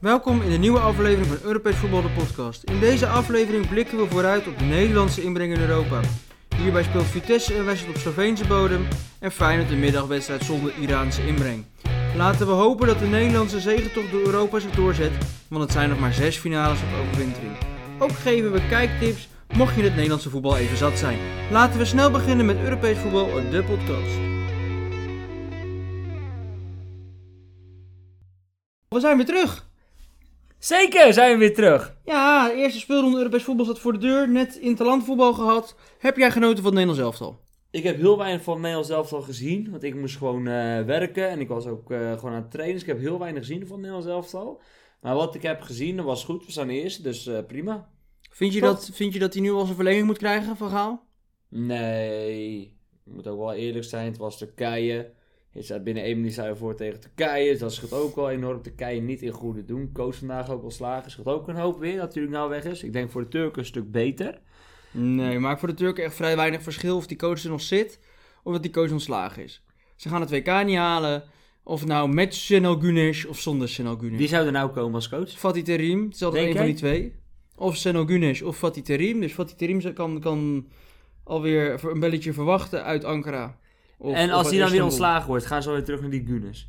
Welkom in de nieuwe aflevering van Europees Voetbal de Podcast. In deze aflevering blikken we vooruit op de Nederlandse inbreng in Europa. Hierbij speelt Vitesse een wedstrijd op Sloveense bodem en Feyenoord een middagwedstrijd zonder Iraanse inbreng. Laten we hopen dat de Nederlandse zegentocht door Europa zich doorzet, want het zijn nog maar zes finales op overwintering. Ook geven we kijktips mocht je het Nederlandse voetbal even zat zijn. Laten we snel beginnen met Europees Voetbal, de podcast. We zijn weer terug! Zeker zijn we weer terug. Ja, de eerste speelronde Europees voetbal staat voor de deur. Net interlandvoetbal gehad. Heb jij genoten van het Nederlands elftal? Ik heb heel weinig van Nederland zelf al gezien. Want ik moest gewoon eh, werken en ik was ook eh, gewoon aan het trainen. Dus ik heb heel weinig gezien van Nederland zelf al. Maar wat ik heb gezien dat was goed. We staan eerst, dus eh, prima. Vind je, Toch? dat, vind je dat hij nu al zijn verlenging moet krijgen van Gaal? Nee, ik moet ook wel eerlijk zijn. Het was Turkije. Je staat binnen één minuut sta je voor tegen Turkije. Dus dat scheelt ook wel enorm. Turkije niet in goede doen. Koos vandaag ook wel slagen. Scheelt ook een hoop weer dat natuurlijk nou weg is. Ik denk voor de Turken een stuk beter. Nee, maakt voor de Turken echt vrij weinig verschil of die coach er nog zit of dat die coach ontslagen is. Ze gaan het WK niet halen. Of nou met Senal Gunes of zonder Senal Gunes. Wie zou er nou komen als coach? Fatih Terim, het is altijd Denk een van die jij? twee. Of Senal Gunes of Fatih Terim. Dus Fatih Terim kan, kan alweer een belletje verwachten uit Ankara. Of- en of uit als hij dan weer Istanbul. ontslagen wordt, gaan ze weer terug naar die Gunners.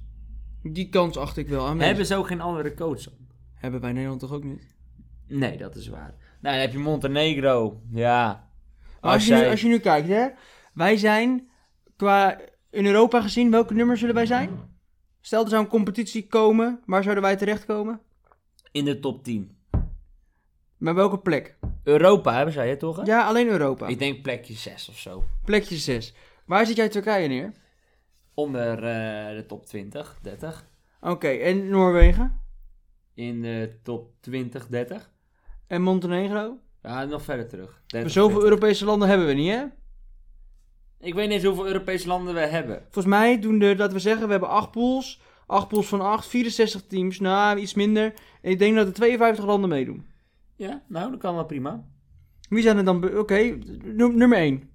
Die kans acht ik wel aan. Hebben ze ook geen andere coach dan? Hebben wij Nederland toch ook niet? Nee, dat is waar. Nou, dan heb je Montenegro. Ja. Maar als, je nu, als je nu kijkt, hè. Wij zijn, qua in Europa gezien, welke nummer zullen wij zijn? Stel, er zou een competitie komen. Waar zouden wij terechtkomen? In de top 10. Maar welke plek? Europa hebben zij, hè, toch? hè? Ja, alleen Europa. Ik denk plekje 6 of zo. Plekje 6. Waar zit jij Turkije neer? Onder eh, de top 20, 30. Oké, en Noorwegen? In de top 20, 30. En Montenegro? Ja, nog verder terug. 30, Zoveel 40. Europese landen hebben we niet, hè? Ik weet niet eens hoeveel Europese landen we hebben. Volgens mij doen er, laten we zeggen, we hebben acht pools. Acht pools van acht, 64 teams. Nou, iets minder. En ik denk dat er 52 landen meedoen. Ja, nou, dat kan wel prima. Wie zijn er dan? be- Oké, noem- nummer 1.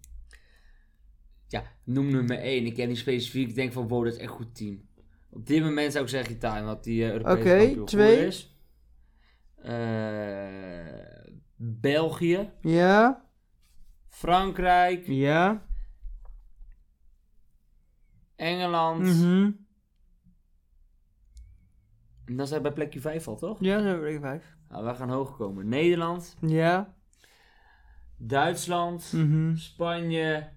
Ja, noem nummer 1. Ik ken die specifiek. Ik denk van, wow, dat is echt een goed team. Op dit moment zou ik zeggen Italië, wat die eh, Europese Oké, kampioen twee. geworden is. Eh, België, Ja. Frankrijk, Ja. Engeland. Mhm. En dan zijn we bij plekje 5 al, toch? Ja, zo ben ik vijf. Nou, we gaan hoog komen. Nederland, Ja. Duitsland, Mhm. Spanje.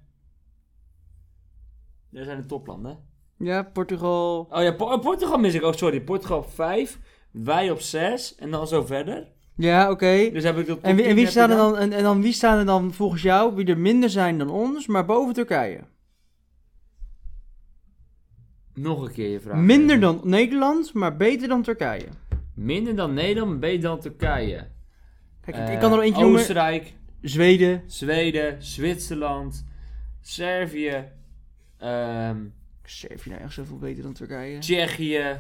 Dat zijn de toplanden. Ja, Portugal. Oh ja, Po- oh, Portugal mis ik ook. sorry, Portugal op 5. Wij op 6. En dan zo verder. Ja, oké. Dus heb ik dat. En, wie, en, wie staan er dan, en, en dan wie staan er dan volgens jou, wie er minder zijn dan ons, maar boven Turkije? Nog een keer je vraag. Minder dan Nederland, maar beter dan Turkije. Minder dan Nederland, beter dan Turkije. Kijk, ik- ik Eh, kan er eentje noemen. Oostenrijk, Zweden. Zweden, Zwitserland, Servië, ehm, Servië nou echt zoveel beter dan Turkije? Tsjechië.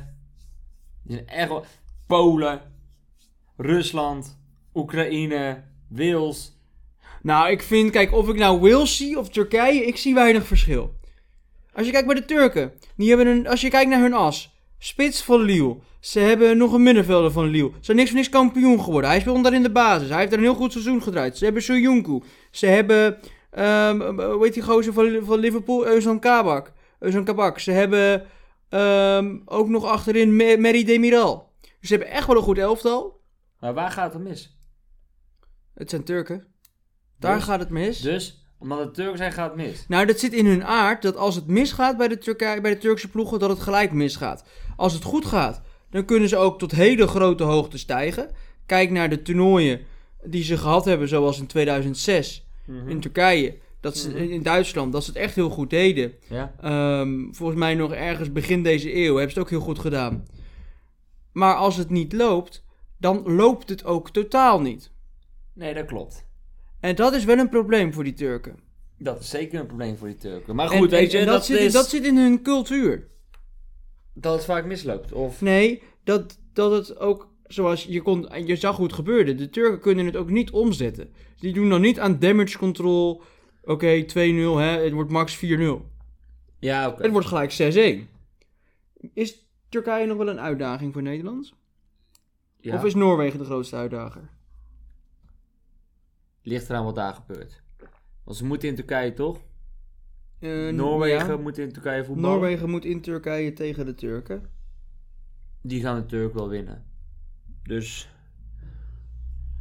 Die zijn echt wel- Polen, Rusland, Oekraïne, Wales. Nou, ik vind, kijk, of ik nou Wales zie of Turkije, ik zie weinig verschil. Als je kijkt bij de Turken, die hebben een, als je kijkt naar hun as, spits van Lille. Ze hebben nog een middenvelder van Lille. Ze zijn niks voor niks kampioen geworden. Hij speelt daar in de basis. Hij heeft er een heel goed seizoen gedraaid. Ze hebben Soyuncu. Ze hebben, ehm, eh, hoe heet die gozer van, van Liverpool? Özcan Kabak. Özcan Kabak. Ze hebben ehm, ook nog achterin Me- Merih Demiral. Dus ze hebben echt wel een goed elftal. Maar waar gaat het mis? Het zijn Turken. Daar Dus- gaat het mis. Dus, omdat het Turken zijn, gaat het mis. Nou, dat zit in hun aard dat als het misgaat bij de, Turkije, bij de Turkse ploegen, dat het gelijk misgaat. Als het goed gaat, dan kunnen ze ook tot hele grote hoogte stijgen. Kijk naar de toernooien die ze gehad hebben, zoals in 2006 in Turkije. Dat Mhm. ze, in Duitsland, dat ze het echt heel goed deden. Ja. Ehm, volgens mij nog ergens begin deze eeuw hebben ze het ook heel goed gedaan. Maar als het niet loopt, dan loopt het ook totaal niet. Nee, dat klopt. En dat is wel een probleem voor die Turken. Dat is zeker een probleem voor die Turken. Maar En- goed, weet en- je, en dat, dat, zit, is, dat zit in hun cultuur. dat het vaak misloopt. Of Nee, dat, dat het ook, zoals je, kon, je zag hoe het gebeurde. De Turken kunnen het ook niet omzetten. Die doen dan niet aan damage control. Oké, 2-0, hè, het wordt max 4-0. Ja, oké. Het wordt gelijk 6-1. Is Turkije nog wel een uitdaging voor Nederland? Ja. Of is Noorwegen de grootste uitdager? Ligt eraan wat daar gebeurt. Want ze moeten in Turkije toch? Eh, Noorwegen ja. moet in Turkije voetballen. Noorwegen moet in Turkije tegen de Turken. Die gaan natuurlijk wel winnen. Dus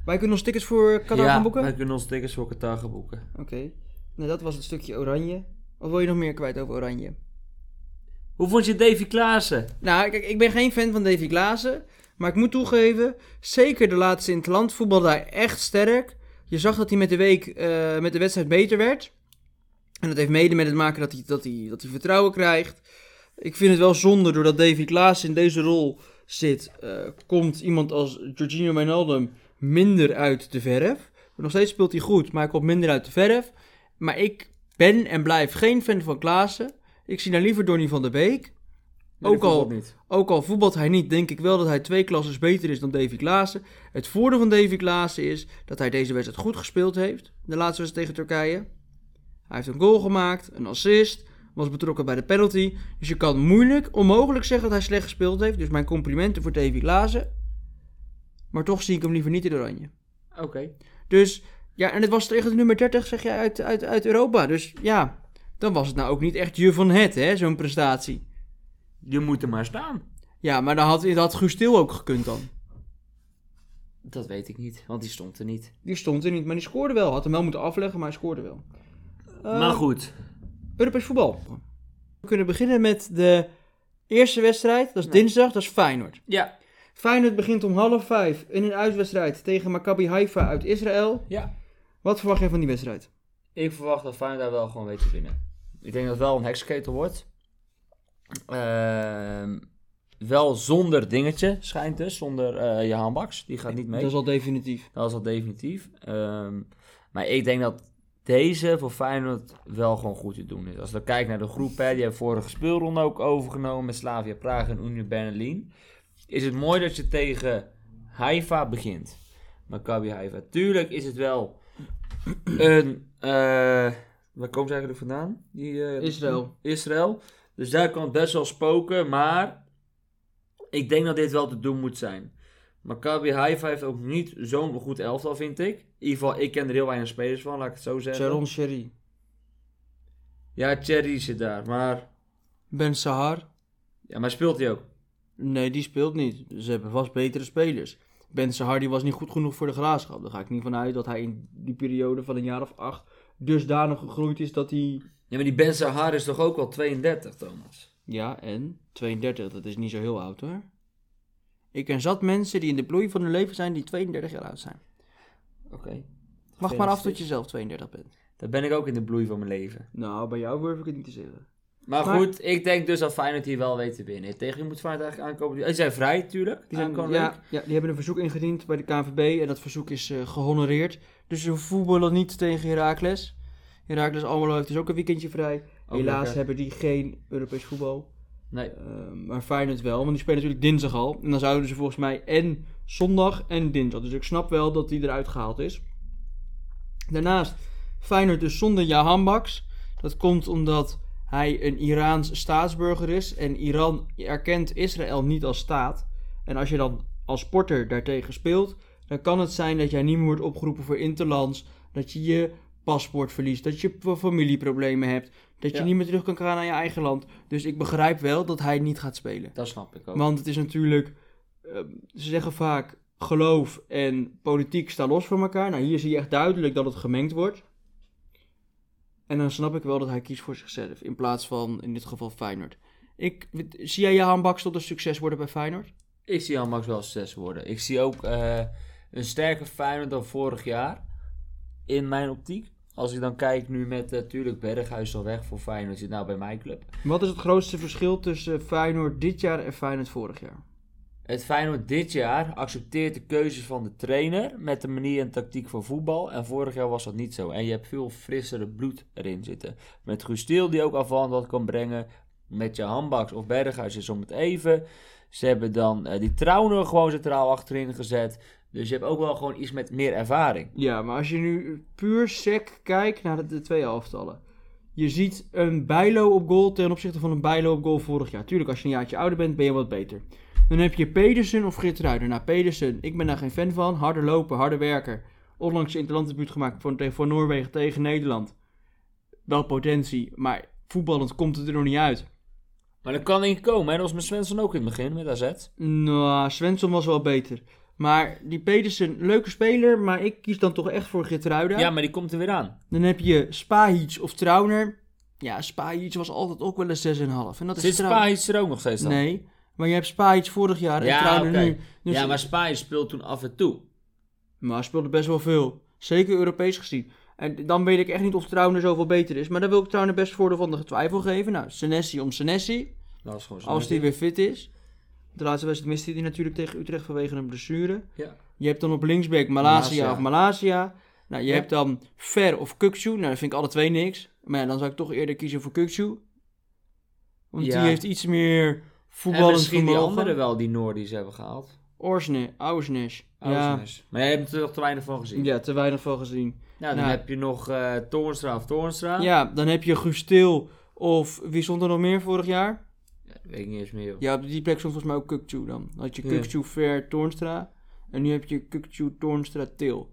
Wij kunnen ons tickets voor Qatar ja, gaan boeken? wij kunnen ons tickets voor Qatar gaan boeken. Oké. Nou, dat was het stukje oranje. Of wil je nog meer kwijt over oranje? Hoe vond je Davy Klaassen? Nou, kijk, ik ben geen fan van Davy Klaassen. Maar ik moet toegeven, zeker de laatste in het land voetbalde hij echt sterk. Je zag dat hij met de week, eh, met de wedstrijd beter werd. En dat heeft mede met het maken dat hij, dat, hij, dat hij vertrouwen krijgt. Ik vind het wel zonde, doordat Davy Klaassen in deze rol zit, eh, komt iemand als Jorginho Wijnaldum minder uit de verf. Nog steeds speelt hij goed, maar hij komt minder uit de verf. Maar ik ben en blijf geen fan van Klaassen. Ik zie daar liever Donny van der Beek. Nee, Ook al- voetbalt niet. Ook al voetbalt hij niet, denk ik wel dat hij twee klasses beter is dan Davy Klaassen. Het voordeel van Davy Klaassen is dat hij deze wedstrijd goed gespeeld heeft. De laatste wedstrijd tegen Turkije. Hij heeft een goal gemaakt, een assist, was betrokken bij de penalty. Dus je kan moeilijk, onmogelijk zeggen dat hij slecht gespeeld heeft. Dus mijn complimenten voor Davy Klaassen. Maar toch zie ik hem liever niet in oranje. Oké. Dus ja, en het was tegen de nummer 30, zeg jij, uit, uit, uit Europa. Dus ja, dan was het nou ook niet echt je van het, hè, zo'n prestatie. Je moet er maar staan. Ja, maar dan had, dat had Guus Til ook gekund dan. Dat weet ik niet, want die stond er niet. Die stond er niet, maar die scoorde wel. Had hem wel moeten afleggen, maar hij scoorde wel. Eh, maar goed. Europees voetbal. We kunnen beginnen met de eerste wedstrijd. Dat is dinsdag, dat is Feyenoord. Ja. Feyenoord begint om half vijf in een uitwedstrijd tegen Maccabi Haifa uit Israël. ja. Wat verwacht jij van die wedstrijd? Ik verwacht dat Feyenoord daar wel gewoon weet te winnen. Ik denk dat het wel een heksketel wordt. Ehm, wel zonder dingetje, schijnt dus. Zonder eh Jahan Baks. Die gaat niet mee. Dat is al definitief. Dat is al definitief. Ehm, maar ik denk dat deze voor Feyenoord wel gewoon goed te doen is. Als we kijken naar de groep, hè, die hebben vorige speelronde ook overgenomen met Slavia Praag en Union Berlin. Is het mooi dat je tegen Haifa begint. Maccabi Haifa. Tuurlijk is het wel een... eh, waar komt ze eigenlijk vandaan? Die, eh, Israël. Israël. Dus daar kan het best wel spoken, maar ik denk dat dit wel te doen moet zijn. Maccabi Haifa heeft ook niet zo'n goed elftal, vind ik. In ieder geval, ik ken er heel weinig spelers van, laat ik het zo zeggen. Sharon Sherry. Ja, Thierry zit daar, maar... Ben Sahar. Ja, maar speelt hij ook? Nee, die speelt niet. Ze hebben vast betere spelers. Ben Sahar die was niet goed genoeg voor de graafschap. Daar ga ik niet van uit dat hij in die periode van een jaar of acht dusdanig gegroeid is dat hij Ja, maar die Ben Sahar is toch ook al 32, Thomas? Ja, en 32, dat is niet zo heel oud hoor. Ik ken zat mensen die in de bloei van hun leven zijn die 32 jaar oud zijn. Oké. Wacht maar af tot je zelf 32 bent. Daar ben ik ook in de bloei van mijn leven. Nou, bij jou durf ik het niet te zeggen. Maar, Maar- goed, ik denk dus dat Feyenoord hier wel weet te winnen. Tegen wie moet Feyenoord eigenlijk aankomen? Die zijn vrij, tuurlijk. Die, zijn, Aankomende week. ja, ja, die hebben een verzoek ingediend bij de KNVB en dat verzoek is eh, gehonoreerd. Dus ze voetballen niet tegen Heracles. Heracles Almelo heeft dus ook een weekendje vrij. Ook Helaas lekker. hebben die geen Europees voetbal. Nee, Eh, maar Feyenoord wel, want die spelen natuurlijk dinsdag al. En dan zouden ze volgens mij en zondag en dinsdag. Dus ik snap wel dat die eruit gehaald is. Daarnaast Feyenoord dus zonder Jahan Baks. Dat komt omdat hij een Iraans staatsburger is. En Iran erkent Israël niet als staat. En als je dan als porter daartegen speelt... dan kan het zijn dat jij niet meer wordt opgeroepen voor interlands. Dat je je paspoort verliest. Dat je fa- familieproblemen hebt. Dat je Ja. niet meer terug kan gaan naar je eigen land. Dus ik begrijp wel dat hij niet gaat spelen. dat snap ik ook. Want het is natuurlijk... ehm, ze zeggen vaak... geloof en politiek staan los van elkaar. Nou, hier zie je echt duidelijk dat het gemengd wordt. En dan snap ik wel dat hij kiest voor zichzelf. In plaats van, in dit geval, Feyenoord. Ik, zie jij Jahan Baks tot een succes worden bij Feyenoord? Ik zie Jan Max wel succes worden. Ik zie ook eh, een sterker Feyenoord dan vorig jaar. In mijn optiek. Als ik dan kijk nu met natuurlijk Berghuis al weg voor Feyenoord. Zit nou bij mijn club. Wat is het grootste verschil tussen Feyenoord dit jaar en Feyenoord vorig jaar? Het Feyenoord dit jaar accepteert de keuzes van de trainer. Met de manier en tactiek van voetbal. En vorig jaar was dat niet zo. En je hebt veel frissere bloed erin zitten. Met Gustil die ook afstand wat kan brengen. Met je handbaks of Berghuis is om het even. Ze hebben dan eh, die Trauner gewoon centraal achterin gezet. Dus je hebt ook wel gewoon iets met meer ervaring. Ja, maar als je nu puur sec kijkt naar de, de twee elftallen. Je ziet een Bijlo op goal ten opzichte van een Bijlo op goal vorig jaar. Tuurlijk, als je een jaartje ouder bent, ben je wat beter. Dan heb je Pedersen of Gert Ruijder. Nou, Pedersen, ik ben daar geen fan van. Harder lopen, harder werken. Onlangs interlanddebuut gemaakt voor, tegen- voor Noorwegen tegen Nederland. Wel potentie, maar voetballend komt het er nog niet uit. Maar dat kan één komen. Hè? Dat was met Svensson ook in het begin, met AZ. Nou, Svensson was wel beter. Maar die Pedersen, leuke speler, maar ik kies dan toch echt voor Gertruida. Ja, maar die komt er weer aan. Dan heb je Spahic of Trauner. Ja, Spahic was altijd ook wel een 6,5. En dat Zit is Trauner. Spahic er ook nog steeds aan? Nee, maar je hebt Spahic vorig jaar Ja, en Trauner oké. nu. Dus- Ja, maar Spahic speelt toen af en toe. Maar hij speelde best wel veel. Zeker Europees gezien. En dan weet ik echt niet of Trauner zoveel beter is. Maar dan wil ik Trauner best voordeel van de twijfel geven. Nou, Senesi om Senesi. Dat is gewoon zo. Als die weer fit is. De laatste wedstrijd miste hij natuurlijk tegen Utrecht vanwege een blessure. Ja. Je hebt dan op linksback Malasia. Malasia of Malasia. Nou, je Ja. hebt dan Ver of Kukcu. Nou, dat vind ik alle twee niks. Maar ja, dan zou ik toch eerder kiezen voor Kukcu. Want Ja. die heeft iets meer En voetballend misschien die anderen vermogen. wel die Noordies hebben gehaald. Orsne, Ausnes. Ja. Ausnes. Maar jij hebt er nog te weinig van gezien. ja, te weinig van gezien. Nou, dan Nou. heb je nog eh Toornstra of Toornstra. Ja, dan heb je Gustil of wie stond er nog meer vorig jaar? Ja, Weet ik niet eens meer. joh. Ja, op die plek stond volgens mij ook Kukcu dan. Dan had je Ja. Kukcu, Ver, Toornstra. En nu heb je Kukcu, Toornstra, Til.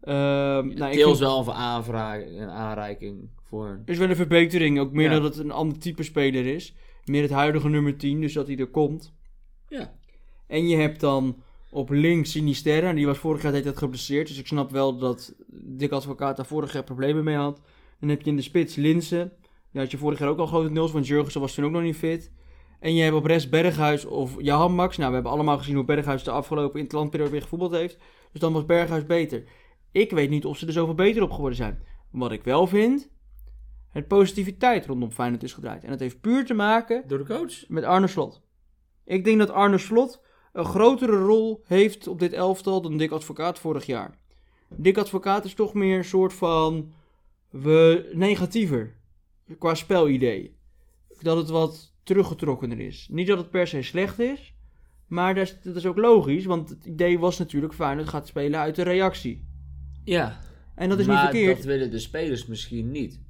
Ehm nou, ik Til vind- is wel een, aanvraag, een aanreiking voor een... is wel een verbetering. Ook meer Ja. dat het een ander type speler is. Meer het huidige nummer 10, dus dat hij er komt. Ja. En je hebt dan op links Sinisterra. en Die was vorig jaar de hele tijd geblesseerd. Dus ik snap wel dat Dick Advocaat daar vorig jaar problemen mee had. Dan heb je in de spits Linsen. Die had je vorig jaar ook al grote nils, want Jurgensen was toen ook nog niet fit. En je hebt op rest Berghuis of Jahan Max. Nou, we hebben allemaal gezien hoe Berghuis de afgelopen in het landperiode weer gevoetbald heeft. Dus dan was Berghuis beter. Ik weet niet of ze er zoveel beter op geworden zijn. Wat ik wel vind, het positiviteit rondom Feyenoord is gedraaid. En dat heeft puur te maken Door de coach? met Arne Slot. Ik denk dat Arne Slot een grotere rol heeft op dit elftal dan Dick Advocaat vorig jaar. Dick Advocaat is toch meer een soort van we, negatiever qua spelidee. Dat het wat teruggetrokkener is. Niet dat het per se slecht is, maar dat is, dat is ook logisch, want het idee was natuurlijk Feyenoord gaat spelen uit de reactie. Ja. En dat is maar niet verkeerd. dat willen de spelers misschien niet.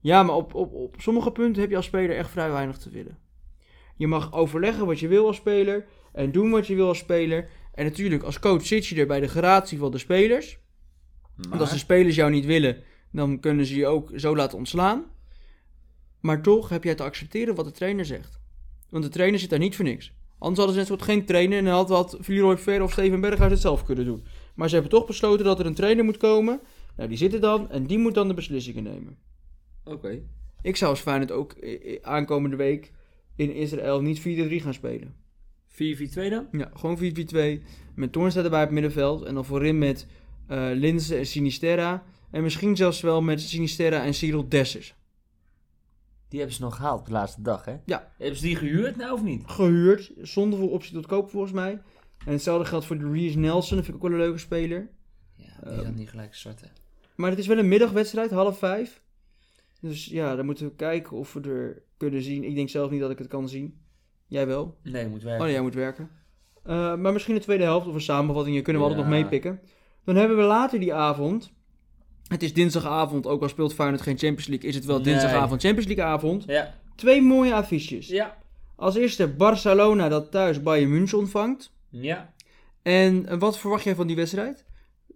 Ja, maar op, op, op sommige punten heb je als speler echt vrij weinig te willen. Je mag overleggen wat je wil als speler en doen wat je wil als speler. En natuurlijk, als coach zit je er bij de gratie van de spelers. Want als de Maar, spelers jou niet willen, dan kunnen ze je ook zo laten ontslaan. Maar toch heb jij te accepteren wat de trainer zegt. Want de trainer zit daar niet voor niks. Anders hadden ze net zo goed geen trainer en dan had, had Leroy Ver of Steven Berghuis het zelf kunnen doen. Maar ze hebben toch besloten dat er een trainer moet komen. Nou, die zit er dan en die moet dan de beslissingen nemen. oké. Ik zou als Feyenoord ook eh, eh, aankomende week in Israël niet 4-3 gaan spelen. 4-4-2 dan? Ja, gewoon 4-4-2. Met Toornstra erbij op het middenveld. En dan voorin met eh Linzen en Sinisterra. En misschien zelfs wel met Sinisterra en Cyril Dessers. Die hebben ze nog gehaald de laatste dag, hè? Ja. Hebben ze die gehuurd nou of niet? Gehuurd, zonder voor optie tot koop volgens mij. En hetzelfde geldt voor de Rees Nelson. Dat vind ik ook wel een leuke speler. Ja, die gaat niet gelijk starten. Maar het is wel een middagwedstrijd, half vijf. Dus ja, dan moeten we kijken of we er kunnen zien. Ik denk zelf niet dat ik het kan zien. Jij wel? Nee, moet werken. Oh nee, jij moet werken. Eh, maar misschien de tweede helft of een samenvatting. hier kunnen we altijd Ja. nog meepikken. Dan hebben we later die avond. Het is dinsdagavond, ook al speelt Feyenoord geen Champions League, is het wel Nee. dinsdagavond Champions League avond. Ja. Twee mooie affiches. Ja. Als eerste Barcelona dat thuis Bayern München ontvangt. Ja. En eh, wat verwacht jij van die wedstrijd?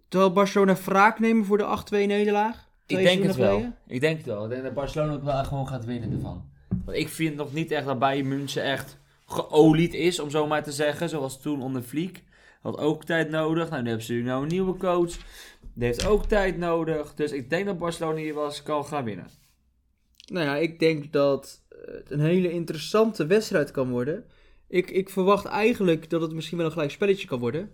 Terwijl Barcelona wraak nemen voor de 8-2 nederlaag. Twee Ik denk het seizoenen wel. geleden. Ik denk het wel. Ik denk dat Barcelona ook wel gewoon gaat winnen ervan. Want ik vind nog niet echt dat Bayern München echt geolied is, om zo maar te zeggen. Zoals toen onder Vliek. Had ook tijd nodig. Nou, nu hebben ze nu nou een nieuwe coach. Die heeft ook tijd nodig. Dus ik denk dat Barcelona hier wel eens kan gaan winnen. Nou ja, ik denk dat eh, het een hele interessante wedstrijd kan worden. Ik, ik verwacht eigenlijk dat het misschien wel een gelijk spelletje kan worden.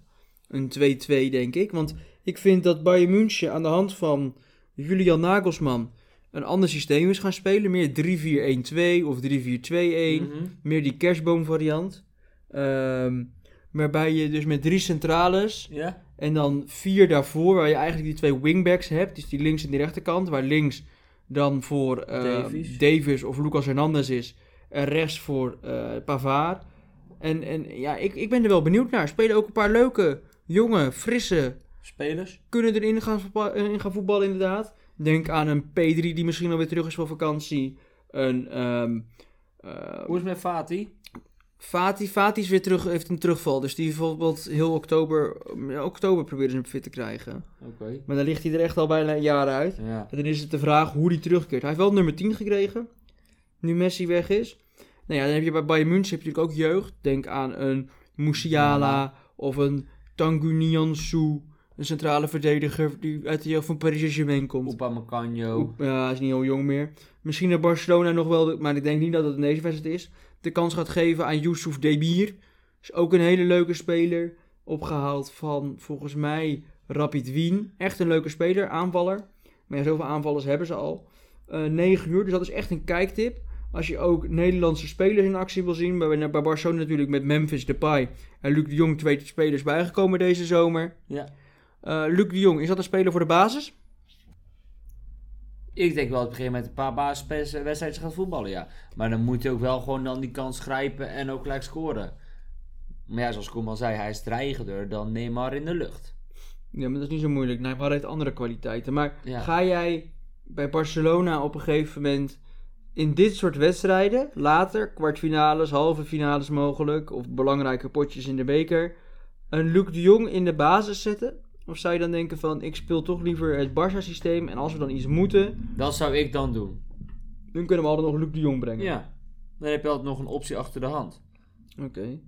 Een 2-2, denk ik. Want ik vind dat Bayern München aan de hand van Julian Nagelsman een ander systeem is gaan spelen. Meer 3-4-1-2 of 3-4-2-1. Mhm. Meer die kerstboomvariant. Ehm, waarbij je dus met drie centrales Ja? en dan vier daarvoor, waar je eigenlijk die twee wingbacks hebt. Dus die links en die rechterkant. Waar links dan voor eh, Davies. Davis. of Lucas Hernandez is. En rechts voor eh Pavard. En, en ja, ik, ik ben er wel benieuwd naar. Spelen ook een paar leuke, jonge, frisse. Spelers? Kunnen erin gaan, voetba- eh, in gaan voetballen, inderdaad. Denk aan een P3 die misschien alweer terug is van vakantie. Een. ehm eh, Hoe is het met Fatih? Fati, Fati is weer terug, heeft een terugval. Dus die bijvoorbeeld heel oktober, ja, oktober proberen ze hem fit te krijgen. Oké. Maar dan ligt hij er echt al bijna een jaar uit. Ja. En dan is het de vraag hoe die terugkeert. Hij heeft wel nummer 10 gekregen. Nu Messi weg is. Nou ja, dan heb je bij Bayern München heb je natuurlijk ook jeugd. Denk aan een Musiala of een Tanguy Niansu. Een centrale verdediger die uit de jeugd van Paris Saint-Germain komt. Oepa Macanjo. Oep, Ja, hij is niet heel jong meer. Misschien naar Barcelona nog wel, maar ik denk niet dat het in deze wedstrijd is. De kans gaat geven aan Youssouf Debir. Is ook een hele leuke speler. Opgehaald van volgens mij Rapid Wien. Echt een leuke speler, aanvaller. Maar ja, zoveel aanvallers hebben ze al. Eh 9 uur, dus dat is echt een kijktip. Als je ook Nederlandse spelers in actie wil zien. Bij, bij Barcelona natuurlijk met Memphis Depay en Luc de Jong twee spelers bijgekomen deze zomer. Ja. Eh, Luc de Jong, is dat een speler voor de basis? Ik denk wel dat op een gegeven moment een paar basiswedstrijdjes gaat voetballen, ja. Maar dan moet je ook wel gewoon dan die kans grijpen en ook gelijk scoren. Maar ja, zoals Koeman zei, hij is dreigender dan Neymar in de lucht. Ja, maar dat is niet zo moeilijk. Neymar heeft andere kwaliteiten. Maar Ja. ga jij bij Barcelona op een gegeven moment in dit soort wedstrijden, later, kwartfinales, halve finales mogelijk, of belangrijke potjes in de beker, een Luc de Jong in de basis zetten? Of zou je dan denken van, ik speel toch liever het Barça-systeem en als we dan iets moeten, Dat zou ik dan doen. dan kunnen we altijd nog Luc de Jong brengen. Ja. Dan heb je altijd nog een optie achter de hand. Oké.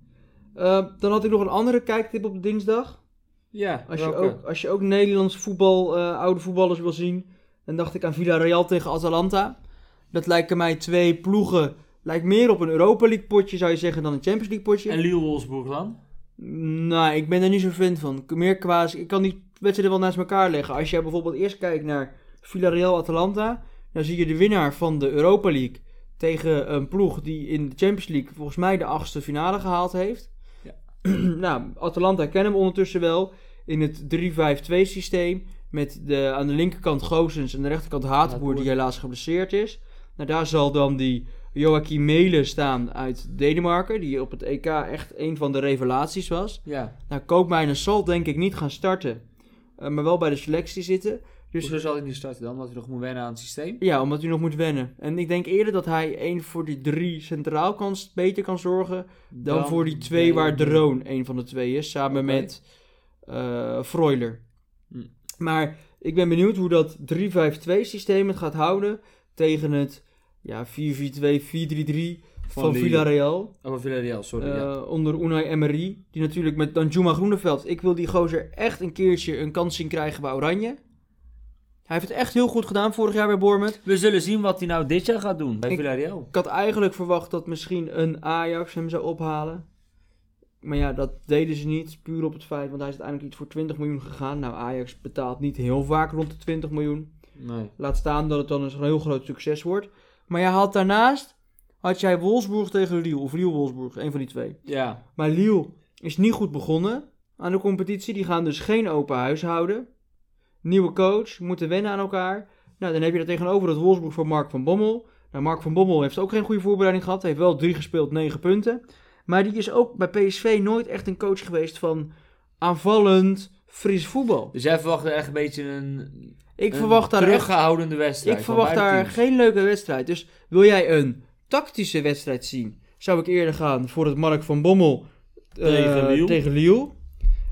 Eh, dan had ik nog een andere kijktip op dinsdag. Ja, Als je, ook, als je ook Nederlands voetbal, eh, oude voetballers wil zien, dan dacht ik aan Villarreal tegen Atalanta. Dat lijken mij twee ploegen. Lijkt meer op een Europa League potje, zou je zeggen, dan een Champions League potje. En Lille Wolfsburg dan? Nou, ik ben daar niet zo fan van. Meer qua, ik kan die wedstrijden wel naast elkaar leggen. Als jij bijvoorbeeld eerst kijkt naar Villarreal-Atalanta, dan zie je de winnaar van de Europa League tegen een ploeg die in de Champions League volgens mij de achtste finale gehaald heeft. Ja. nou, Atalanta kennen hem ondertussen wel in het 3-5-2 systeem met de, aan de linkerkant Gozens en de rechterkant Hatenboer die Hatenboer. helaas geblesseerd is. Nou, daar zal dan die Joachim Mele staan uit Denemarken, die op het EK echt een van de revelaties was. Ja. Nou, Koopmijnen zal denk ik niet gaan starten, eh, maar wel bij de selectie zitten. Dus Dus zo zal hij niet starten dan, omdat hij nog moet wennen aan het systeem. ja, omdat hij nog moet wennen. En ik denk eerder dat hij één voor die drie centraal kan, beter kan zorgen dan, voor die twee waar Droon één van de twee is, samen Oké. met eh Freuler. Hm. Maar ik ben benieuwd hoe dat 3-5-2 systeem het gaat houden tegen het ja, 4-4-2, 4-3-3 van, Lille. Villarreal. Oh, Villarreal, sorry. Eh, ja. Onder Unai Emery. Die natuurlijk met Danjuma Groeneveld. Ik wil die gozer echt een keertje een kans zien krijgen bij Oranje. Hij heeft het echt heel goed gedaan vorig jaar bij Bournemouth. We zullen zien wat hij nou dit jaar gaat doen bij Ik- Villarreal. Ik had eigenlijk verwacht dat misschien een Ajax hem zou ophalen. Maar ja, dat deden ze niet. Puur op het feit, want hij is uiteindelijk iets voor 20 miljoen gegaan. Nou, Ajax betaalt niet heel vaak rond de 20 miljoen. Nee. Laat staan dat het dan een heel groot succes wordt. Maar jij had daarnaast, had jij Wolfsburg tegen Lille. Of Lille-Wolfsburg, een van die twee. Ja. Maar Lille is niet goed begonnen aan de competitie. Die gaan dus geen open huis houden. Nieuwe coach, moeten wennen aan elkaar. Nou, dan heb je er tegenover het Wolfsburg van Mark van Bommel. Nou, Mark van Bommel heeft ook geen goede voorbereiding gehad. Heeft wel drie gespeeld, negen punten. Maar die is ook bij PSV nooit echt een coach geweest van aanvallend, fris voetbal. Dus jij verwacht echt een beetje een Ik Een verwacht daar echt teruggehoudende wedstrijd. ik van verwacht beide daar teams. geen leuke wedstrijd. Dus wil jij een tactische wedstrijd zien, zou ik eerder gaan voor het Mark van Bommel eh, Tegen Lille. tegen Lille.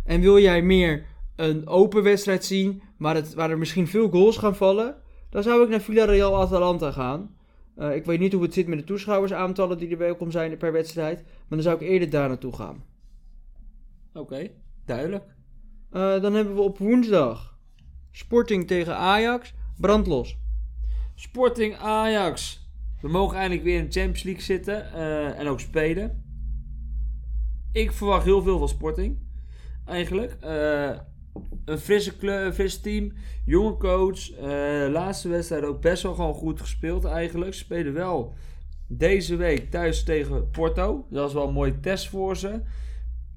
En wil jij meer een open wedstrijd zien, waar, het, waar er misschien veel goals gaan vallen, dan zou ik naar Villarreal Atalanta gaan. Eh, ik weet niet hoe het zit met de toeschouwersaantallen die er welkom zijn per wedstrijd, maar dan zou ik eerder daar naartoe gaan. Oké, duidelijk. Eh, dan hebben we op woensdag Sporting tegen Ajax, brandlos. Sporting Ajax. We mogen eindelijk weer in de Champions League zitten eh, en ook spelen. Ik verwacht heel veel van Sporting. Eigenlijk. Eh, een frisse kleur, een fris team. Jonge coach. eh, laatste wedstrijd ook best wel gewoon goed gespeeld eigenlijk. Ze spelen wel deze week thuis tegen Porto. Dat is wel een mooie test voor ze.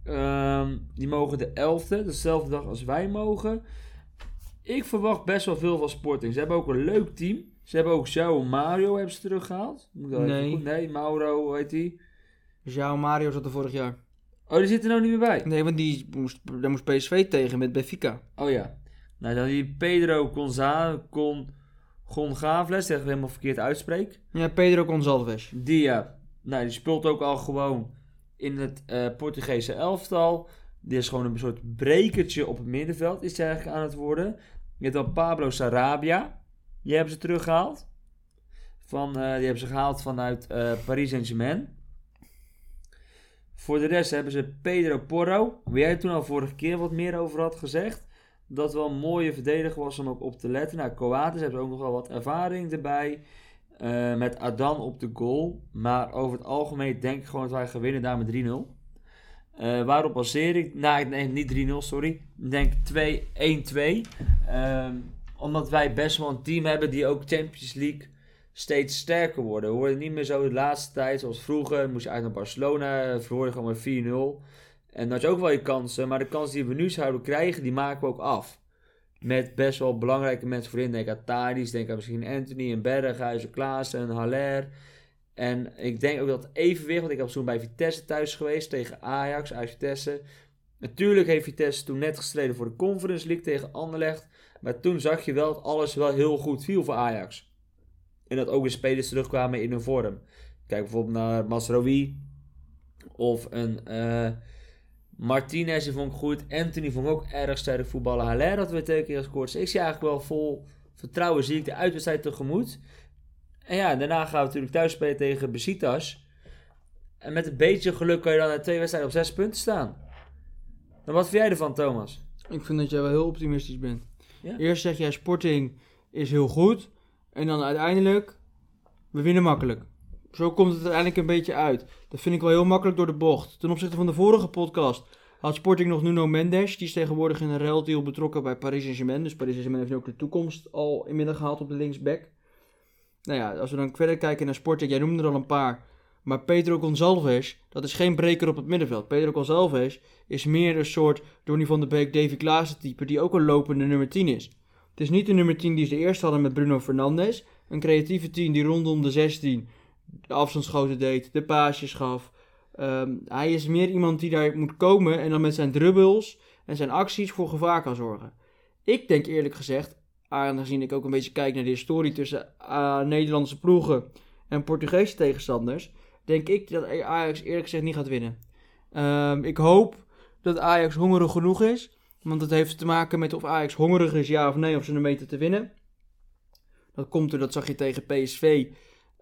Ehm, die mogen de 11e, dezelfde dag als wij mogen. Ik verwacht best wel veel van Sporting. Ze hebben ook een leuk team. Ze hebben ook Joao Mario hebben ze teruggehaald. Moet ik dat even Nee. goed- nee, Mauro, hoe heet die? João Mario zat er vorig jaar. Oh, die zit er nou niet meer bij. Nee, want die moest, daar moest PSV tegen met Benfica. Oh ja. Nou, dan die Pedro Gonza, Con, Gonzales, zeg ik helemaal verkeerd uitspreek. eh, Ja, Pedro Gonçalves. Die, ja. nou, die speelt ook al gewoon in het eh, Portugese elftal. Die is gewoon een soort brekertje op het middenveld, is hij eigenlijk aan het worden. Je hebt dan Pablo Sarabia. Die hebben ze teruggehaald. Van, eh, die hebben ze gehaald vanuit eh, Paris Saint-Germain. Voor de rest hebben ze Pedro Porro. Waar jij toen al vorige keer wat meer over had gezegd. Dat wel een mooie verdediger was om ook op te letten. Nou, Coates hebben ook nog wel wat ervaring erbij. Eh, met Adan op de goal. Maar over het algemeen denk ik gewoon dat wij gaan winnen daar met 3-0. Eh, waarop baseer ik? Nou, nee, niet 3-0, sorry. Ik denk 2-1-2. Ehm, omdat wij best wel een team hebben die ook Champions League steeds sterker worden. We worden niet meer zo de laatste tijd zoals vroeger. Moest je uit naar Barcelona, eh, verloor je gewoon maar 4-0. En dan had je ook wel je kansen. Maar de kansen die we nu zouden krijgen, die maken we ook af. Met best wel belangrijke mensen voorin. Denk aan Tadis, denk aan misschien Anthony en Berghuizen, Klaassen en Haller. En ik denk ook dat evenwicht, want ik heb toen bij Vitesse thuis geweest tegen Ajax uit Vitesse. Natuurlijk heeft Vitesse toen net gestreden voor de Conference League tegen Anderlecht. Maar toen zag je wel dat alles wel heel goed viel voor Ajax. En dat ook de spelers terugkwamen in hun vorm. Kijk bijvoorbeeld naar Masrowi. Of een eh Martinez, die vond ik goed. Anthony vond ik ook erg sterk voetballen. Haller had weer twee keer gescoord. Dus ik zie eigenlijk wel vol vertrouwen zie ik de uitwedstrijd tegemoet. En ja, daarna gaan we natuurlijk thuis spelen tegen Besiktas. En met een beetje geluk kan je dan na twee wedstrijden op zes punten staan. Dan wat vind jij ervan, Thomas? Ik vind dat jij wel heel optimistisch bent. Ja. Eerst zeg jij Sporting is heel goed. En dan uiteindelijk, we winnen makkelijk. Zo komt het uiteindelijk een beetje uit. Dat vind ik wel heel makkelijk door de bocht. Ten opzichte van de vorige podcast had Sporting nog Nuno Mendes. Die is tegenwoordig in een ruildeal betrokken bij Paris Saint-Germain. Dus Paris Saint-Germain heeft nu ook de toekomst al inmiddels gehaald op de linksback. Nou ja, als we dan verder kijken naar Sporting, jij noemde er al een paar. Maar Pedro Gonçalves, dat is geen breker op het middenveld. Pedro Gonçalves is meer een soort Donny van de Beek, Davy Klaassen type, die ook een lopende nummer 10 is. Het is niet de nummer 10 die ze eerst hadden met Bruno Fernandes. Een creatieve 10 die rondom de 16 de afstandsschoten deed, de paasjes gaf. Ehm, hij is meer iemand die daar moet komen en dan met zijn drubbels en zijn acties voor gevaar kan zorgen. Ik denk eerlijk gezegd, aangezien ik ook een beetje kijk naar de historie tussen eh, Nederlandse ploegen en Portugese tegenstanders, denk ik dat Ajax eerlijk gezegd niet gaat winnen. Ehm, ik hoop dat Ajax hongerig genoeg is. Want dat heeft te maken met of Ajax hongerig is, ja of nee, om ze een meter te winnen. Dat komt er, dat zag je tegen PSV.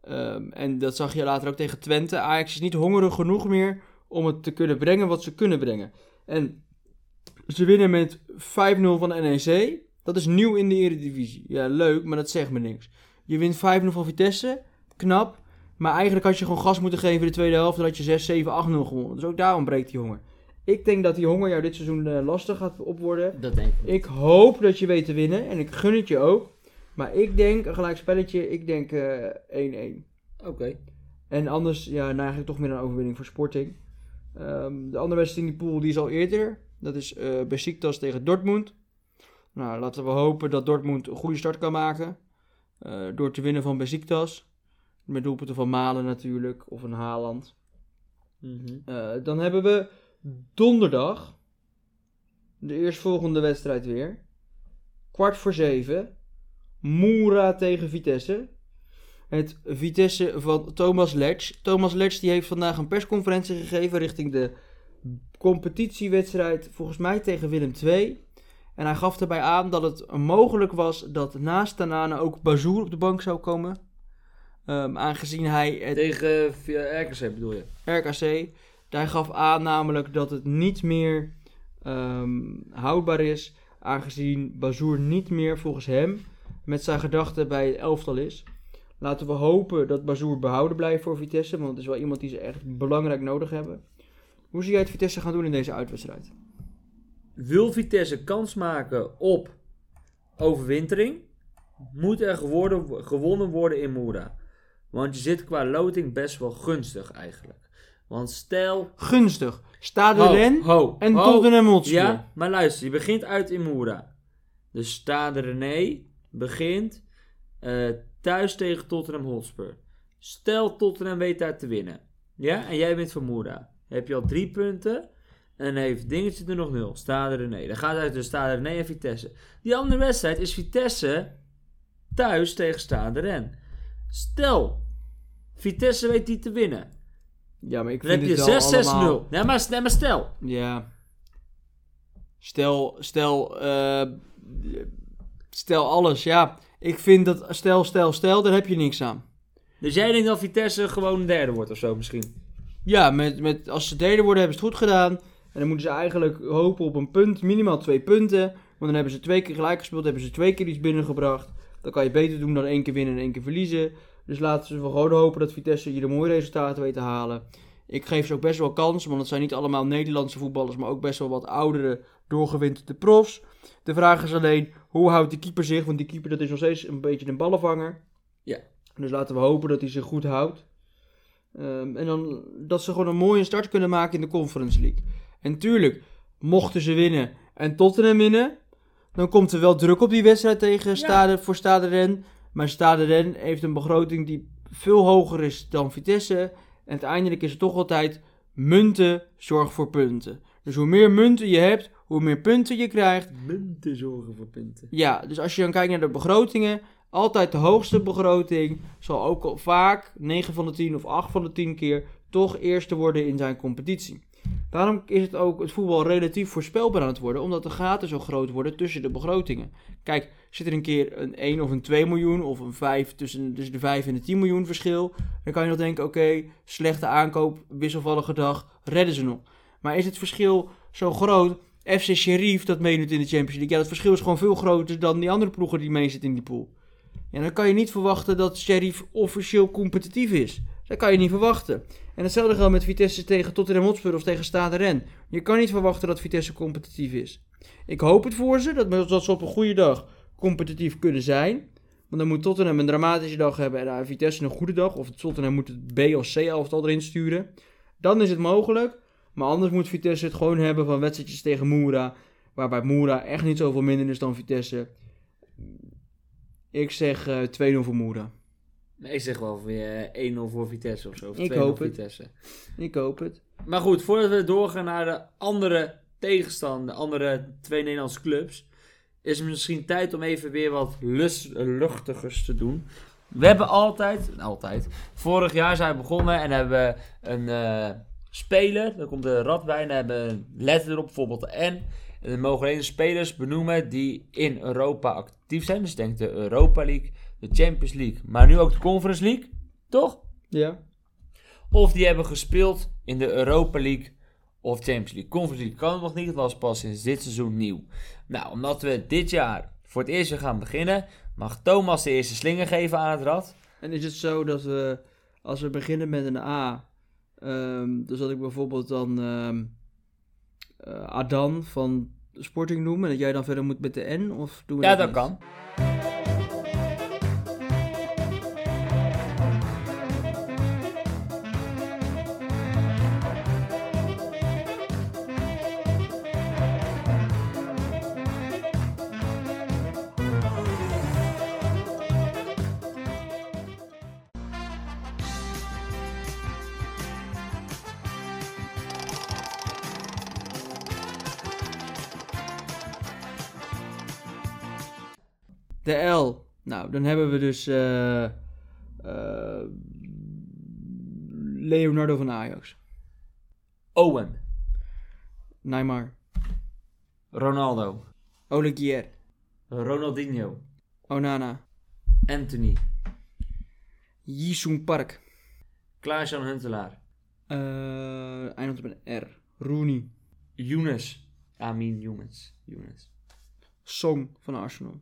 ehm, en dat zag je later ook tegen Twente. Ajax is niet hongerig genoeg meer om het te kunnen brengen wat ze kunnen brengen. En ze winnen met 5-0 van NEC. Dat is nieuw in de Eredivisie. Ja, leuk, maar dat zegt me niks. Je wint 5-0 van Vitesse. Knap. Maar eigenlijk had je gewoon gas moeten geven in de tweede helft. Dan had je 6, 7, 8-0 gewonnen. Dus ook daarom breekt die honger. Ik denk dat die honger jou dit seizoen eh, lastig gaat op worden. Dat denk Ik hoop dat je weet te winnen. En ik gun het je ook. Maar ik denk, een gelijk spelletje, ik denk eh 1-1. Oké. En anders, ja, neig ik toch meer naar een overwinning voor Sporting. Ehm, de andere wedstrijd in die pool, die is al eerder. Dat is eh Besiktas tegen Dortmund. Nou, laten we hopen dat Dortmund een goede start kan maken. eh, door te winnen van Besiktas. Met doelpunten van Malen natuurlijk, of een Haaland. Mhm. Eh, dan hebben we donderdag. De eerstvolgende wedstrijd weer. Kwart voor zeven. Moera tegen Vitesse. Het Vitesse van Thomas Letch. Thomas Letch die heeft vandaag een persconferentie gegeven richting de competitiewedstrijd. Volgens mij tegen Willem II. En hij gaf daarbij aan dat het mogelijk was dat naast Tanane ook Bazoer op de bank zou komen. Ehm, aangezien hij het Tegen via RKC bedoel je? RKC. Daar gaf aan namelijk dat het niet meer ehm, houdbaar is. Aangezien Bazoer niet meer volgens hem met zijn gedachten bij het elftal is. Laten we hopen dat Bazoer behouden blijft voor Vitesse. Want het is wel iemand die ze echt belangrijk nodig hebben. Hoe zie jij het Vitesse gaan doen in deze uitwedstrijd? Wil Vitesse kans maken op overwintering, moet er geworden- gewonnen worden in Moera. Want je zit qua loting best wel gunstig eigenlijk. Want stel... Gunstig. Stade Rennes ho, en ho. Tottenham Hotspur. Ja, maar luister, je begint uit in Moera. Dus Stade René begint eh, thuis tegen Tottenham Hotspur. Stel Tottenham weet daar te winnen. Ja, en jij bent van Moera. Heb je al drie punten en heeft Dingetje er nog nul. Stade René. Dan gaat uit de Stade René en Vitesse. Die andere wedstrijd is Vitesse thuis tegen Stade Rennes. Stel, Vitesse weet die te winnen. Ja, maar ik Dan vind heb dit wel allemaal... je 6-6-0. Nee, maar, nee, maar stel. Ja. Stel, stel, eh, stel alles, ja. Ik vind dat stel, stel, stel, daar heb je niks aan. Dus jij denkt dat Vitesse gewoon een derde wordt of zo misschien? Ja, met, met, als ze derde worden hebben ze het goed gedaan. En dan moeten ze eigenlijk hopen op een punt, minimaal twee punten. Want dan hebben ze twee keer gelijk gespeeld, hebben ze twee keer iets binnengebracht. Dan kan je beter doen dan één keer winnen en één keer verliezen. Dus laten we gewoon hopen dat Vitesse hier een mooi resultaat weet te halen. Ik geef ze ook best wel kans, want het zijn niet allemaal Nederlandse voetballers, maar ook best wel wat oudere, doorgewinterde profs. De vraag is alleen, hoe houdt die keeper zich? Want die keeper dat is nog steeds een beetje een ballenvanger. Ja. Dus laten we hopen dat hij zich goed houdt. Ehm, en dan dat ze gewoon een mooie start kunnen maken in de Conference League. En tuurlijk, mochten ze winnen en Tottenham winnen, dan komt er wel druk op die wedstrijd tegen Stade, voor Stade Ren. Maar Stade Ren heeft een begroting die veel hoger is dan Vitesse. En uiteindelijk is het toch altijd munten zorg voor punten. Dus hoe meer munten je hebt, hoe meer punten je krijgt. Munten zorgen voor punten. Ja, dus als je dan kijkt naar de begrotingen, altijd de hoogste begroting zal ook al vaak 9 van de 10 of 8 van de 10 keer toch eerste worden in zijn competitie. Daarom is het ook het voetbal relatief voorspelbaar aan het worden, omdat de gaten zo groot worden tussen de begrotingen. Kijk, zit er een keer een 1 of een 2 miljoen of een 5 tussen, tussen de 5 en de 10 miljoen verschil, dan kan je nog denken: oké, slechte aankoop, wisselvallige dag, redden ze nog. Maar is het verschil zo groot FC Sheriff dat meedoet in de Champions League. Ja, dat verschil is gewoon veel groter dan die andere ploegen die meezitten in die pool. Ja, dan kan je niet verwachten dat Sheriff officieel competitief is. Dat kan je niet verwachten. En hetzelfde geldt met Vitesse tegen Tottenham Hotspur of tegen Stade Ren. Je kan niet verwachten dat Vitesse competitief is. Ik hoop het voor ze, dat, dat ze op een goede dag competitief kunnen zijn. Want dan moet Tottenham een dramatische dag hebben en eh, Vitesse een goede dag. Of Tottenham moet het B of C elftal erin sturen. Dan is het mogelijk. Maar anders moet Vitesse het gewoon hebben van wedstrijdjes tegen Moera. Waarbij Moera echt niet zoveel minder is dan Vitesse. Ik zeg eh, 2-0 voor Moera. Nee, ik zeg wel weer eh, 1-0 voor Vitesse of zo. Of Ik 2-0 hoop voor het. Vitesse. Ik hoop het. Maar goed, voordat we doorgaan naar de andere tegenstander, de andere twee Nederlandse clubs, is het misschien tijd om even weer wat lus- eh, luchtigers te doen. We hebben altijd, altijd, vorig jaar zijn we begonnen en hebben we een eh, speler, dan komt de rad bij en dan hebben we een letter erop, bijvoorbeeld de N. En dan mogen we één spelers benoemen die in Europa actief zijn. Dus denk de Europa League, de Champions League, maar nu ook de Conference League, toch? Ja. Of die hebben gespeeld in de Europa League of Champions League. Conference League kan nog niet, het was pas sinds dit seizoen nieuw. Nou, omdat we dit jaar voor het eerst weer gaan beginnen, mag Thomas de eerste slinger geven aan het rad. En is het zo dat we, als we beginnen met een A, ehm dus dat ik bijvoorbeeld dan ehm, eh, Adan van Sporting noem en dat jij dan verder moet met de N? Of doen we Ja, dat dat niet? kan. De L. Nou, dan hebben we dus eh, eh, Leonardo van Ajax. Owen, Neymar. Ronaldo, Olegier. Ronaldinho, Onana. Anthony, Jisung Park. Klaas-Jan Huntelaar, eh eindigt op een R. Rooney. Younes. I mean Younes. Younes. Song van Arsenal.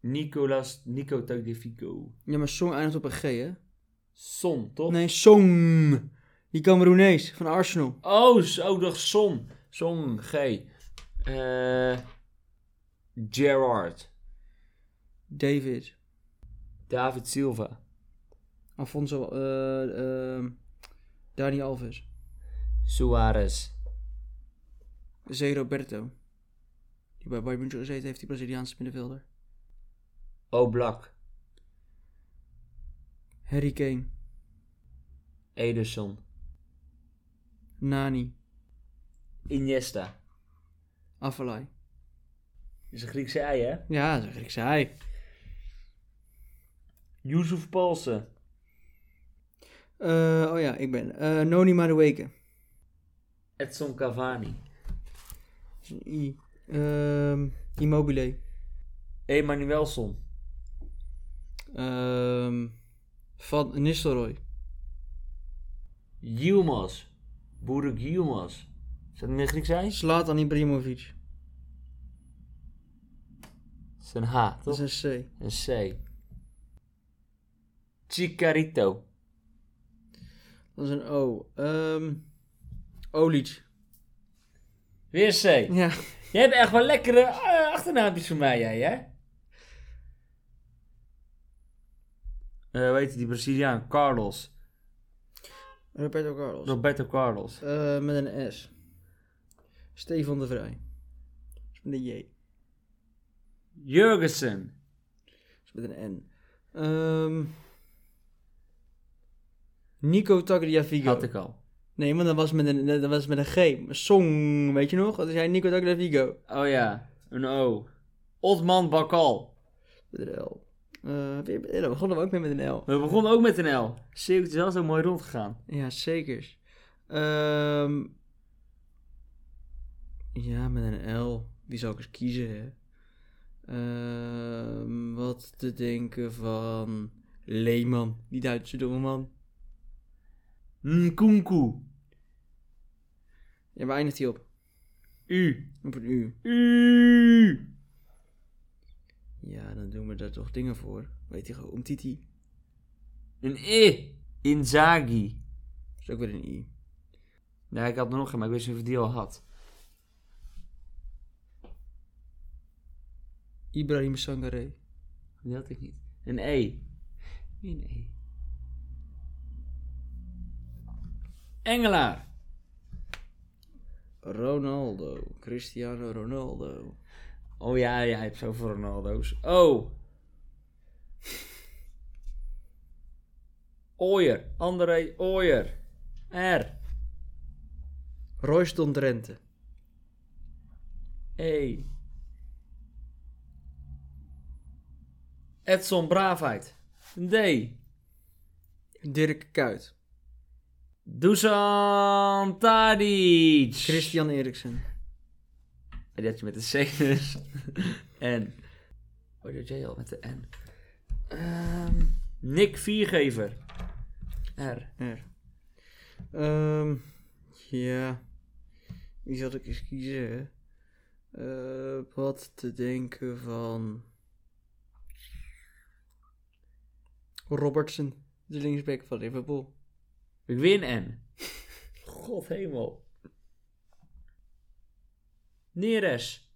Nicolas, Nico Tagliafico. Ja, maar Song eindigt op een G, hè? Son, toch? Nee, Song. Die Cameroenees van Arsenal. Oh, zo dacht Son. Son G. Eh Gerard. David. David Silva. Alfonso. eh eh, Dani Alves. Suarez. Zé Roberto. Die bij Bayern München gezeten heeft, die Braziliaanse middenvelder. Oblak. Harry Kane. Ederson. Nani. Iniesta. Afalai. is een Griekse ei, hè? Ja, zeg ik zei. Yusuf Paulsen. Eh, oh ja, ik ben. eh Noni Madueke. Edson Cavani. Dat is een I. Ehm, Immobile. Emanuelson. Ehm, Van Nistelrooy. Yilmaz. Burak Yilmaz. Zou dat niet Grieks zijn? Zlatan Ibrahimovic. Dat is een H, toch? Dat is een C. Een C. Chicarito. Dat is een O. Ehm Olic. Weer C. Ja. Jij hebt echt wel lekkere eh, achternaamjes voor mij, jij, hè? Eh weet je, die Braziliaan, Carlos. Roberto Carlos. Roberto Carlos. Eh, met een S. Stefan de Vrij. Dat is met een J. Jurgensen. Dat is met een N. Ehm Nico Tagliafico. Had ik al. Nee, want dat was met een, dat was met een G. Song, weet je nog? Dat is hij Nico Tagliafico. Oh ja, een O. Otman Bakal. Met een L. Eh, weer met- dan begonnen we ook weer met een L. We begonnen ook met een L. Zeker, het is wel zo mooi rondgegaan. Ja, zeker. Ehm, ja, met een L. Wie zou ik eens kiezen, hè? Ehm, wat te denken van Leeman, die Duitse doelman. Nkunku. Ja, waar eindigt hij op? U. Op een U. U. Ja, dan doen we daar toch dingen voor. Weet je gewoon, om Titi. Een E. Inzaghi. Dat is ook weer een I. Ja, ik had er nog geen, maar ik wist niet of ik die al had. Ibrahim Sangaré. Die had ik niet. Een E. Wie een E? Engelaar. Ronaldo. Cristiano Ronaldo. Oh ja, ja, je hebt zoveel Ronaldo's. Oh. Ooyer. André Ooyer. R. Royston Drenthe. E. Edson Braafheid. Een D. Dirk Kuyt. Dusan Tadic. Christian Eriksen. En die had je met de C dus. en. Oh, dat jij al met de N. Ehm, Nick Viergever. R. R. Ehm, ja. Wie zal ik eens kiezen? hè? Eh, wat te denken van. Robertson, de linksback van Liverpool. Ik win N. God hemel. Neres.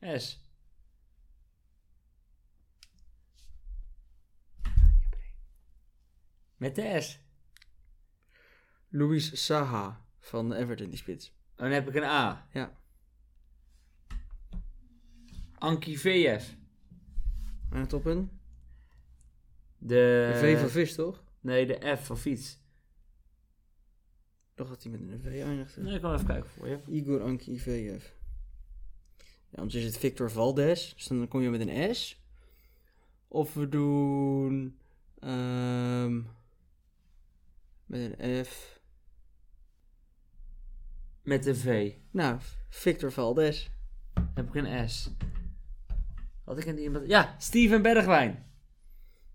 S. Met de S. Luis Saha van Everton, die spits. Oh, Dan heb ik een A. Ja. Anki VF. En het op een? De. v van vis, toch? Nee, de F van fiets. Toch had hij met een V eindigde. Nee, ik kan even kijken voor je. Igor Anki IVF. Ja, anders is het Victor Valdes. Dus dan kom je met een S. Of we doen... ehm, met een F. Met de V. Nou, Victor Valdes. Heb ik een S. Had ik een iemand... Ja, Steven Bergwijn.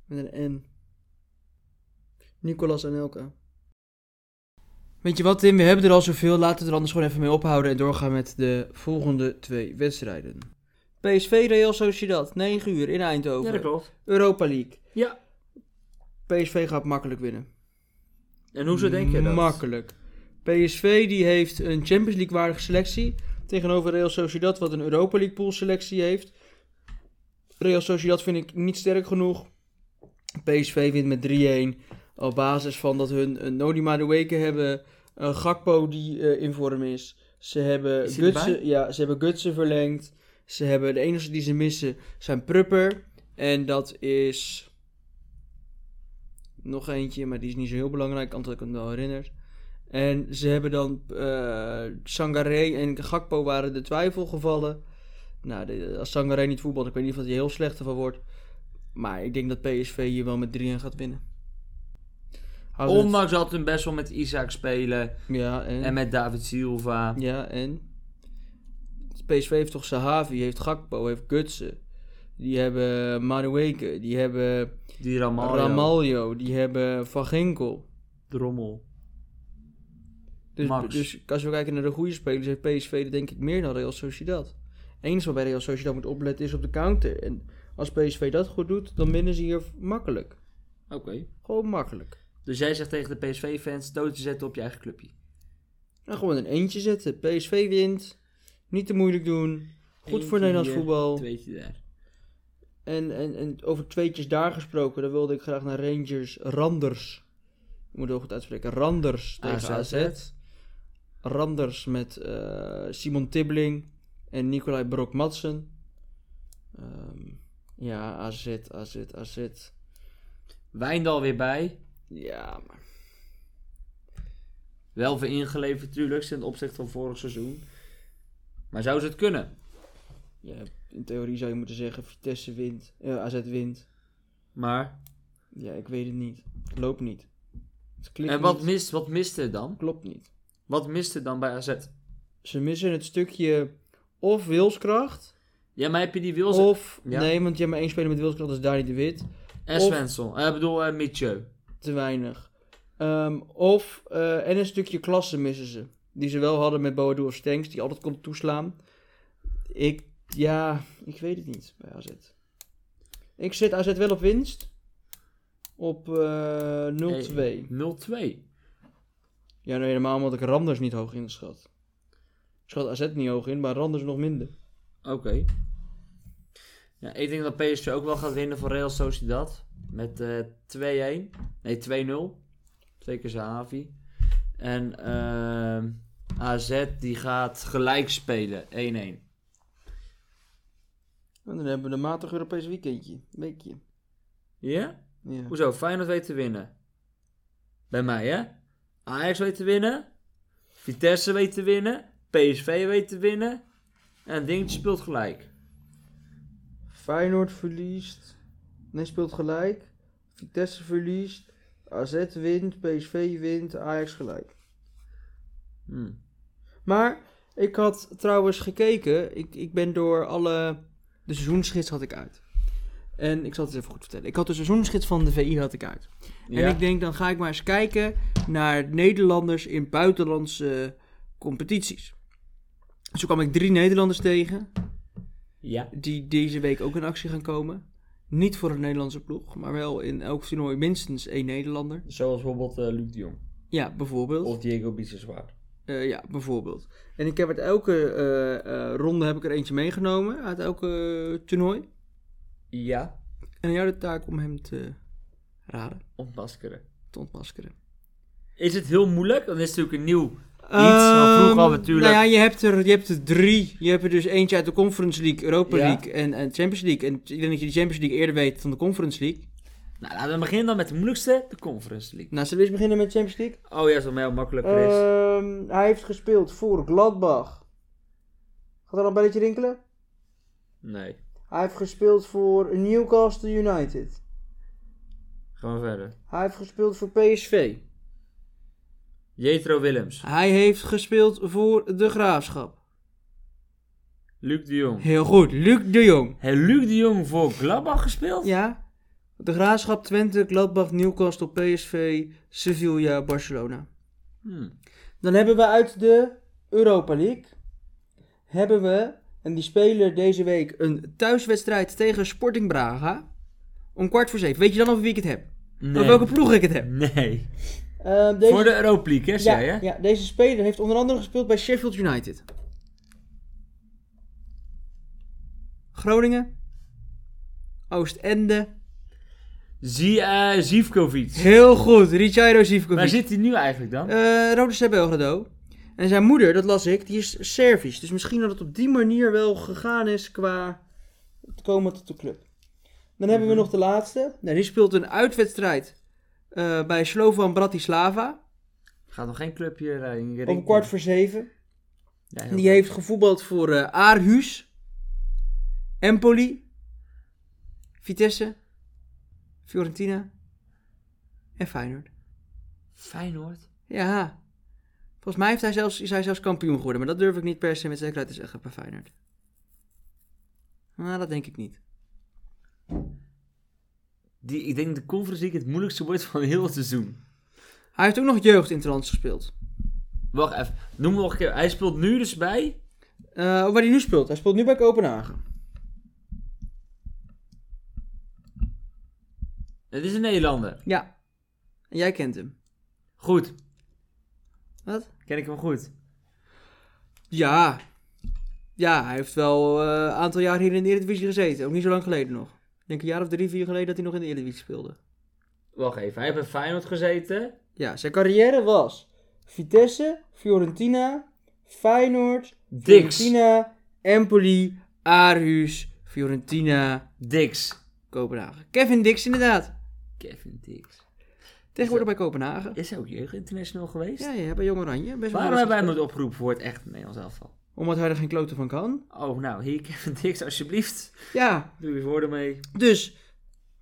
Met een N. Nicolas Anelka. Weet je wat Tim, we hebben er al zoveel. Laten we er anders gewoon even mee ophouden en doorgaan met de volgende twee wedstrijden. PSV Real Sociedad, 9 uur in Eindhoven. klopt. Europa League. Ja. PSV gaat makkelijk winnen. En hoezo denk je dat? Makkelijk. PSV die heeft een Champions League waardige selectie. Tegenover Real Sociedad wat een Europa League pool selectie heeft. Real Sociedad vind ik niet sterk genoeg. PSV wint met 3-1. Op basis van dat hun een Nodi Madueke hebben. Een Gakpo die eh, in vorm is. Ze hebben, Is hij erbij? Gutsen, ja, ze hebben Gutsen verlengd. Ze hebben de enige die ze missen zijn Prupper. En dat is... Nog eentje, maar die is niet zo heel belangrijk, anders had ik hem wel herinnerd. En ze hebben dan eh Sangaré en Gakpo waren de twijfelgevallen. Nou, de- als Sangaré niet voetbalt, ik weet niet of hij heel slecht ervan wordt. Maar ik denk dat PSV hier wel met 3-1 gaat winnen. Houdt het- Ondanks dat hun best wel met Isaac spelen. Ja, en... En met David Silva. Ja, en... PSV heeft toch Sahavi, heeft Gakpo, heeft Gutsen. Die hebben Madueke, die hebben Die Ramaljo. Ramaljo, die hebben Van Ginkel. Drommel. Dus, Max. dus als we kijken naar de goede spelers, heeft PSV er denk ik meer dan Real Sociedad. Eens wat bij Real Sociedad moet opletten is op de counter. En als PSV dat goed doet, dan winnen ze hier makkelijk. Oké. Gewoon makkelijk. Dus jij zegt tegen de PSV-fans dood te zetten op je eigen clubje. En gewoon een eentje zetten. PSV wint. Niet te moeilijk doen. Goed Eentje voor Nederlands hier, voetbal. Tweetje daar. En, en, en over tweetjes daar gesproken, dan wilde ik graag naar Rangers Randers. Ik moet het heel goed uitspreken. Randers tegen AZ. AZ. Randers met eh, Simon Tibbling en Nicolai Brok Madsen. Ehm, ja, AZ, AZ, AZ. Wijndal weer bij. Ja, maar Wel weer ingeleverd natuurlijk ten opzichte van vorig seizoen. Maar zou ze het kunnen? ja, in theorie zou je moeten zeggen Vitesse wint, eh, AZ wint. Maar... Ja, ik weet het niet. Het loopt niet. Het klikt En wat, niet. mist, wat mist er dan? Klopt niet. Wat mist er dan bij AZ? Ze missen het stukje of wilskracht... Ja, maar heb je die Wilson... Of, Ja. nee, want je hebt maar één speler met wilskracht, dat is Dani de Wit. en of- Svensson. Eh, Ik bedoel, eh Mitchell. Te weinig. Ehm, of, eh, en een stukje klasse missen ze. Die ze wel hadden met Boadu of Stenks, die altijd kon toeslaan. Ik, ja, ik weet het niet bij AZ. Ik zet AZ wel op winst. Op eh 0-2. 0-2. Ja, nou helemaal omdat ik Randers niet hoog inschat. Ik schat AZ niet hoog in, maar Randers nog minder. Oké. Ja, ik denk dat PSV ook wel gaat winnen van Real Sociedad. Met eh 2-1. Nee, 2-0. Twee keer Zahavi. En ehm, AZ die gaat gelijk spelen. 1-1. En dan hebben we een matig Europees weekendje. Weekje. Ja? Ja. Hoezo? Feyenoord weet te winnen. Bij mij, hè? Ajax weet te winnen. Vitesse weet te winnen. PSV weet te winnen. En Dingetje speelt gelijk. Feyenoord verliest. Nee, speelt gelijk. Vitesse verliest. AZ wint. PSV wint. Ajax gelijk. Hm. Maar ik had trouwens gekeken. Ik, ik ben door alle... De seizoensgids had ik uit. En ik zal het eens even goed vertellen. Ik had de seizoensgids van de VI had ik uit. En Ja. ik denk, dan ga ik maar eens kijken naar Nederlanders in buitenlandse competities. Dus toen kwam ik drie Nederlanders tegen Ja. die deze week ook in actie gaan komen. Niet voor een Nederlandse ploeg, maar wel in elk toernooi minstens één Nederlander. Zoals bijvoorbeeld eh, Luc de Jong. Ja, bijvoorbeeld. Of Diego Biseswar. Eh, ja, bijvoorbeeld. En ik heb uit elke eh, eh, ronde heb ik er eentje meegenomen, uit elke eh, toernooi. Ja. En aan jou de taak om hem te raden, Ontmaskeren. te ontmaskeren. Is het heel moeilijk? Dan is het natuurlijk een nieuw. Ehm, van vroeger al natuurlijk. Nou ja, je hebt, er, je hebt er drie. Je hebt er dus eentje uit de Conference League, Europa Ja. League en, en Champions League. En ik denk dat je de Champions League eerder weet dan de Conference League. Nou, laten we beginnen dan met de moeilijkste, de Conference League. Nou, zullen we eens beginnen met Champions League? Oh ja, is wel heel makkelijk, Chris. Ehm, hij heeft gespeeld voor Gladbach. Gaat er al een belletje rinkelen? nee, Hij heeft gespeeld voor Newcastle United. gaan we verder. Hij heeft gespeeld voor PSV. Jetro Willems, Hij heeft gespeeld voor De Graafschap. Luc de Jong. Heel goed, Luc de Jong. Heeft Luc de Jong voor Gladbach gespeeld? Ja, De Graafschap, Twente, Gladbach, Newcastle, PSV, Sevilla, Barcelona. Hm. Dan hebben we uit de Europa League. Hebben we, en die spelen deze week, een thuiswedstrijd tegen Sporting Braga. Om kwart voor zeven. Weet je dan over wie ik het heb? Nee. Over welke ploeg ik het heb? Nee. Ehm, deze, Voor de Europa League, hè, ja, zei je? ja, deze speler heeft onder andere gespeeld bij Sheffield United. Groningen. Oostende. Zie, eh, Zivkovic. Heel goed, Ricardo Waar Zivkovic. zit hij nu eigenlijk dan? Eh, Rode C. Belgrado. En zijn moeder, dat las ik, die is Servisch. Dus misschien dat het op die manier wel gegaan is qua het komen tot de club. Dan hebben Mhm. we nog de laatste. Nou, die speelt een uitwedstrijd eh, bij Slovan Bratislava. Gaat nog geen club hier eh, in Om kwart voor zeven. Ja, heel Die heeft gevoetbald voor eh, Aarhus, Empoli, Vitesse, Fiorentina en Feyenoord. goed. Feyenoord? Ja. Volgens mij heeft hij zelfs, is hij zelfs kampioen geworden. Maar dat durf ik niet per se met zekerheid te zeggen bij Feyenoord. Nou, dat denk ik niet. Die, ik denk de Conference League het moeilijkste wordt van heel het seizoen. Hij heeft ook nog jeugd in gespeeld. Wacht even, noem nog een keer. Hij speelt nu dus bij... Eh, ook waar hij nu speelt. Hij speelt nu bij Kopenhagen. Het is een Nederlander. Ja. En jij kent hem. Goed. Wat? Ken ik hem goed? Ja. Ja, hij heeft wel eh, een aantal jaar hier in de Eredivisie gezeten. Ook niet zo lang geleden nog. Ik denk een jaar of drie, vier geleden dat hij nog in de Eredivisie speelde. Wacht even, hij heeft bij Feyenoord gezeten. Ja, zijn carrière was Vitesse, Fiorentina, Feyenoord, Dix. Fiorentina, Empoli, Aarhus, Fiorentina, Dix. Kopenhagen. Kevin Dix inderdaad. Kevin Dix. Tegenwoordig bij Kopenhagen. Is hij ook jeugd international geweest? Ja, ja, bij Jong Oranje. Best wel Waarom lastig. hebben wij hem nooit opgeroepen voor het echt Nederlands elftal? Omdat hij er geen kloten van kan. Oh, nou, hier Kevin Dix, alsjeblieft. Ja, Doe je woorden mee. dus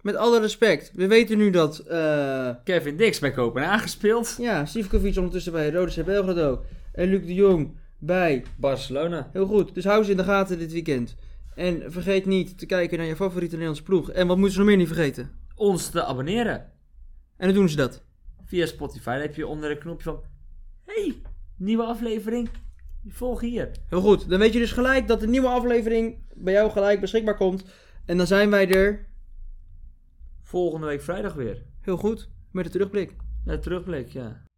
met alle respect. We weten nu dat... eh Kevin Dix bij Kopenhagen speelt. ja, Sivkovic ondertussen bij Rode C. Belgrado. En Luc de Jong bij... Barcelona. Heel goed, dus hou ze in de gaten dit weekend. En vergeet niet te kijken naar je favoriete Nederlandse ploeg. En wat moeten ze nog meer niet vergeten? Ons te abonneren. En dan doen ze dat. Via Spotify Dan heb je onder een knopje van... Hey, nieuwe aflevering. Volg hier. Heel goed. Dan weet je dus gelijk dat de nieuwe aflevering bij jou gelijk beschikbaar komt. En dan zijn wij er, Volgende week vrijdag weer. heel goed, met de terugblik. Naar terugblik, ja.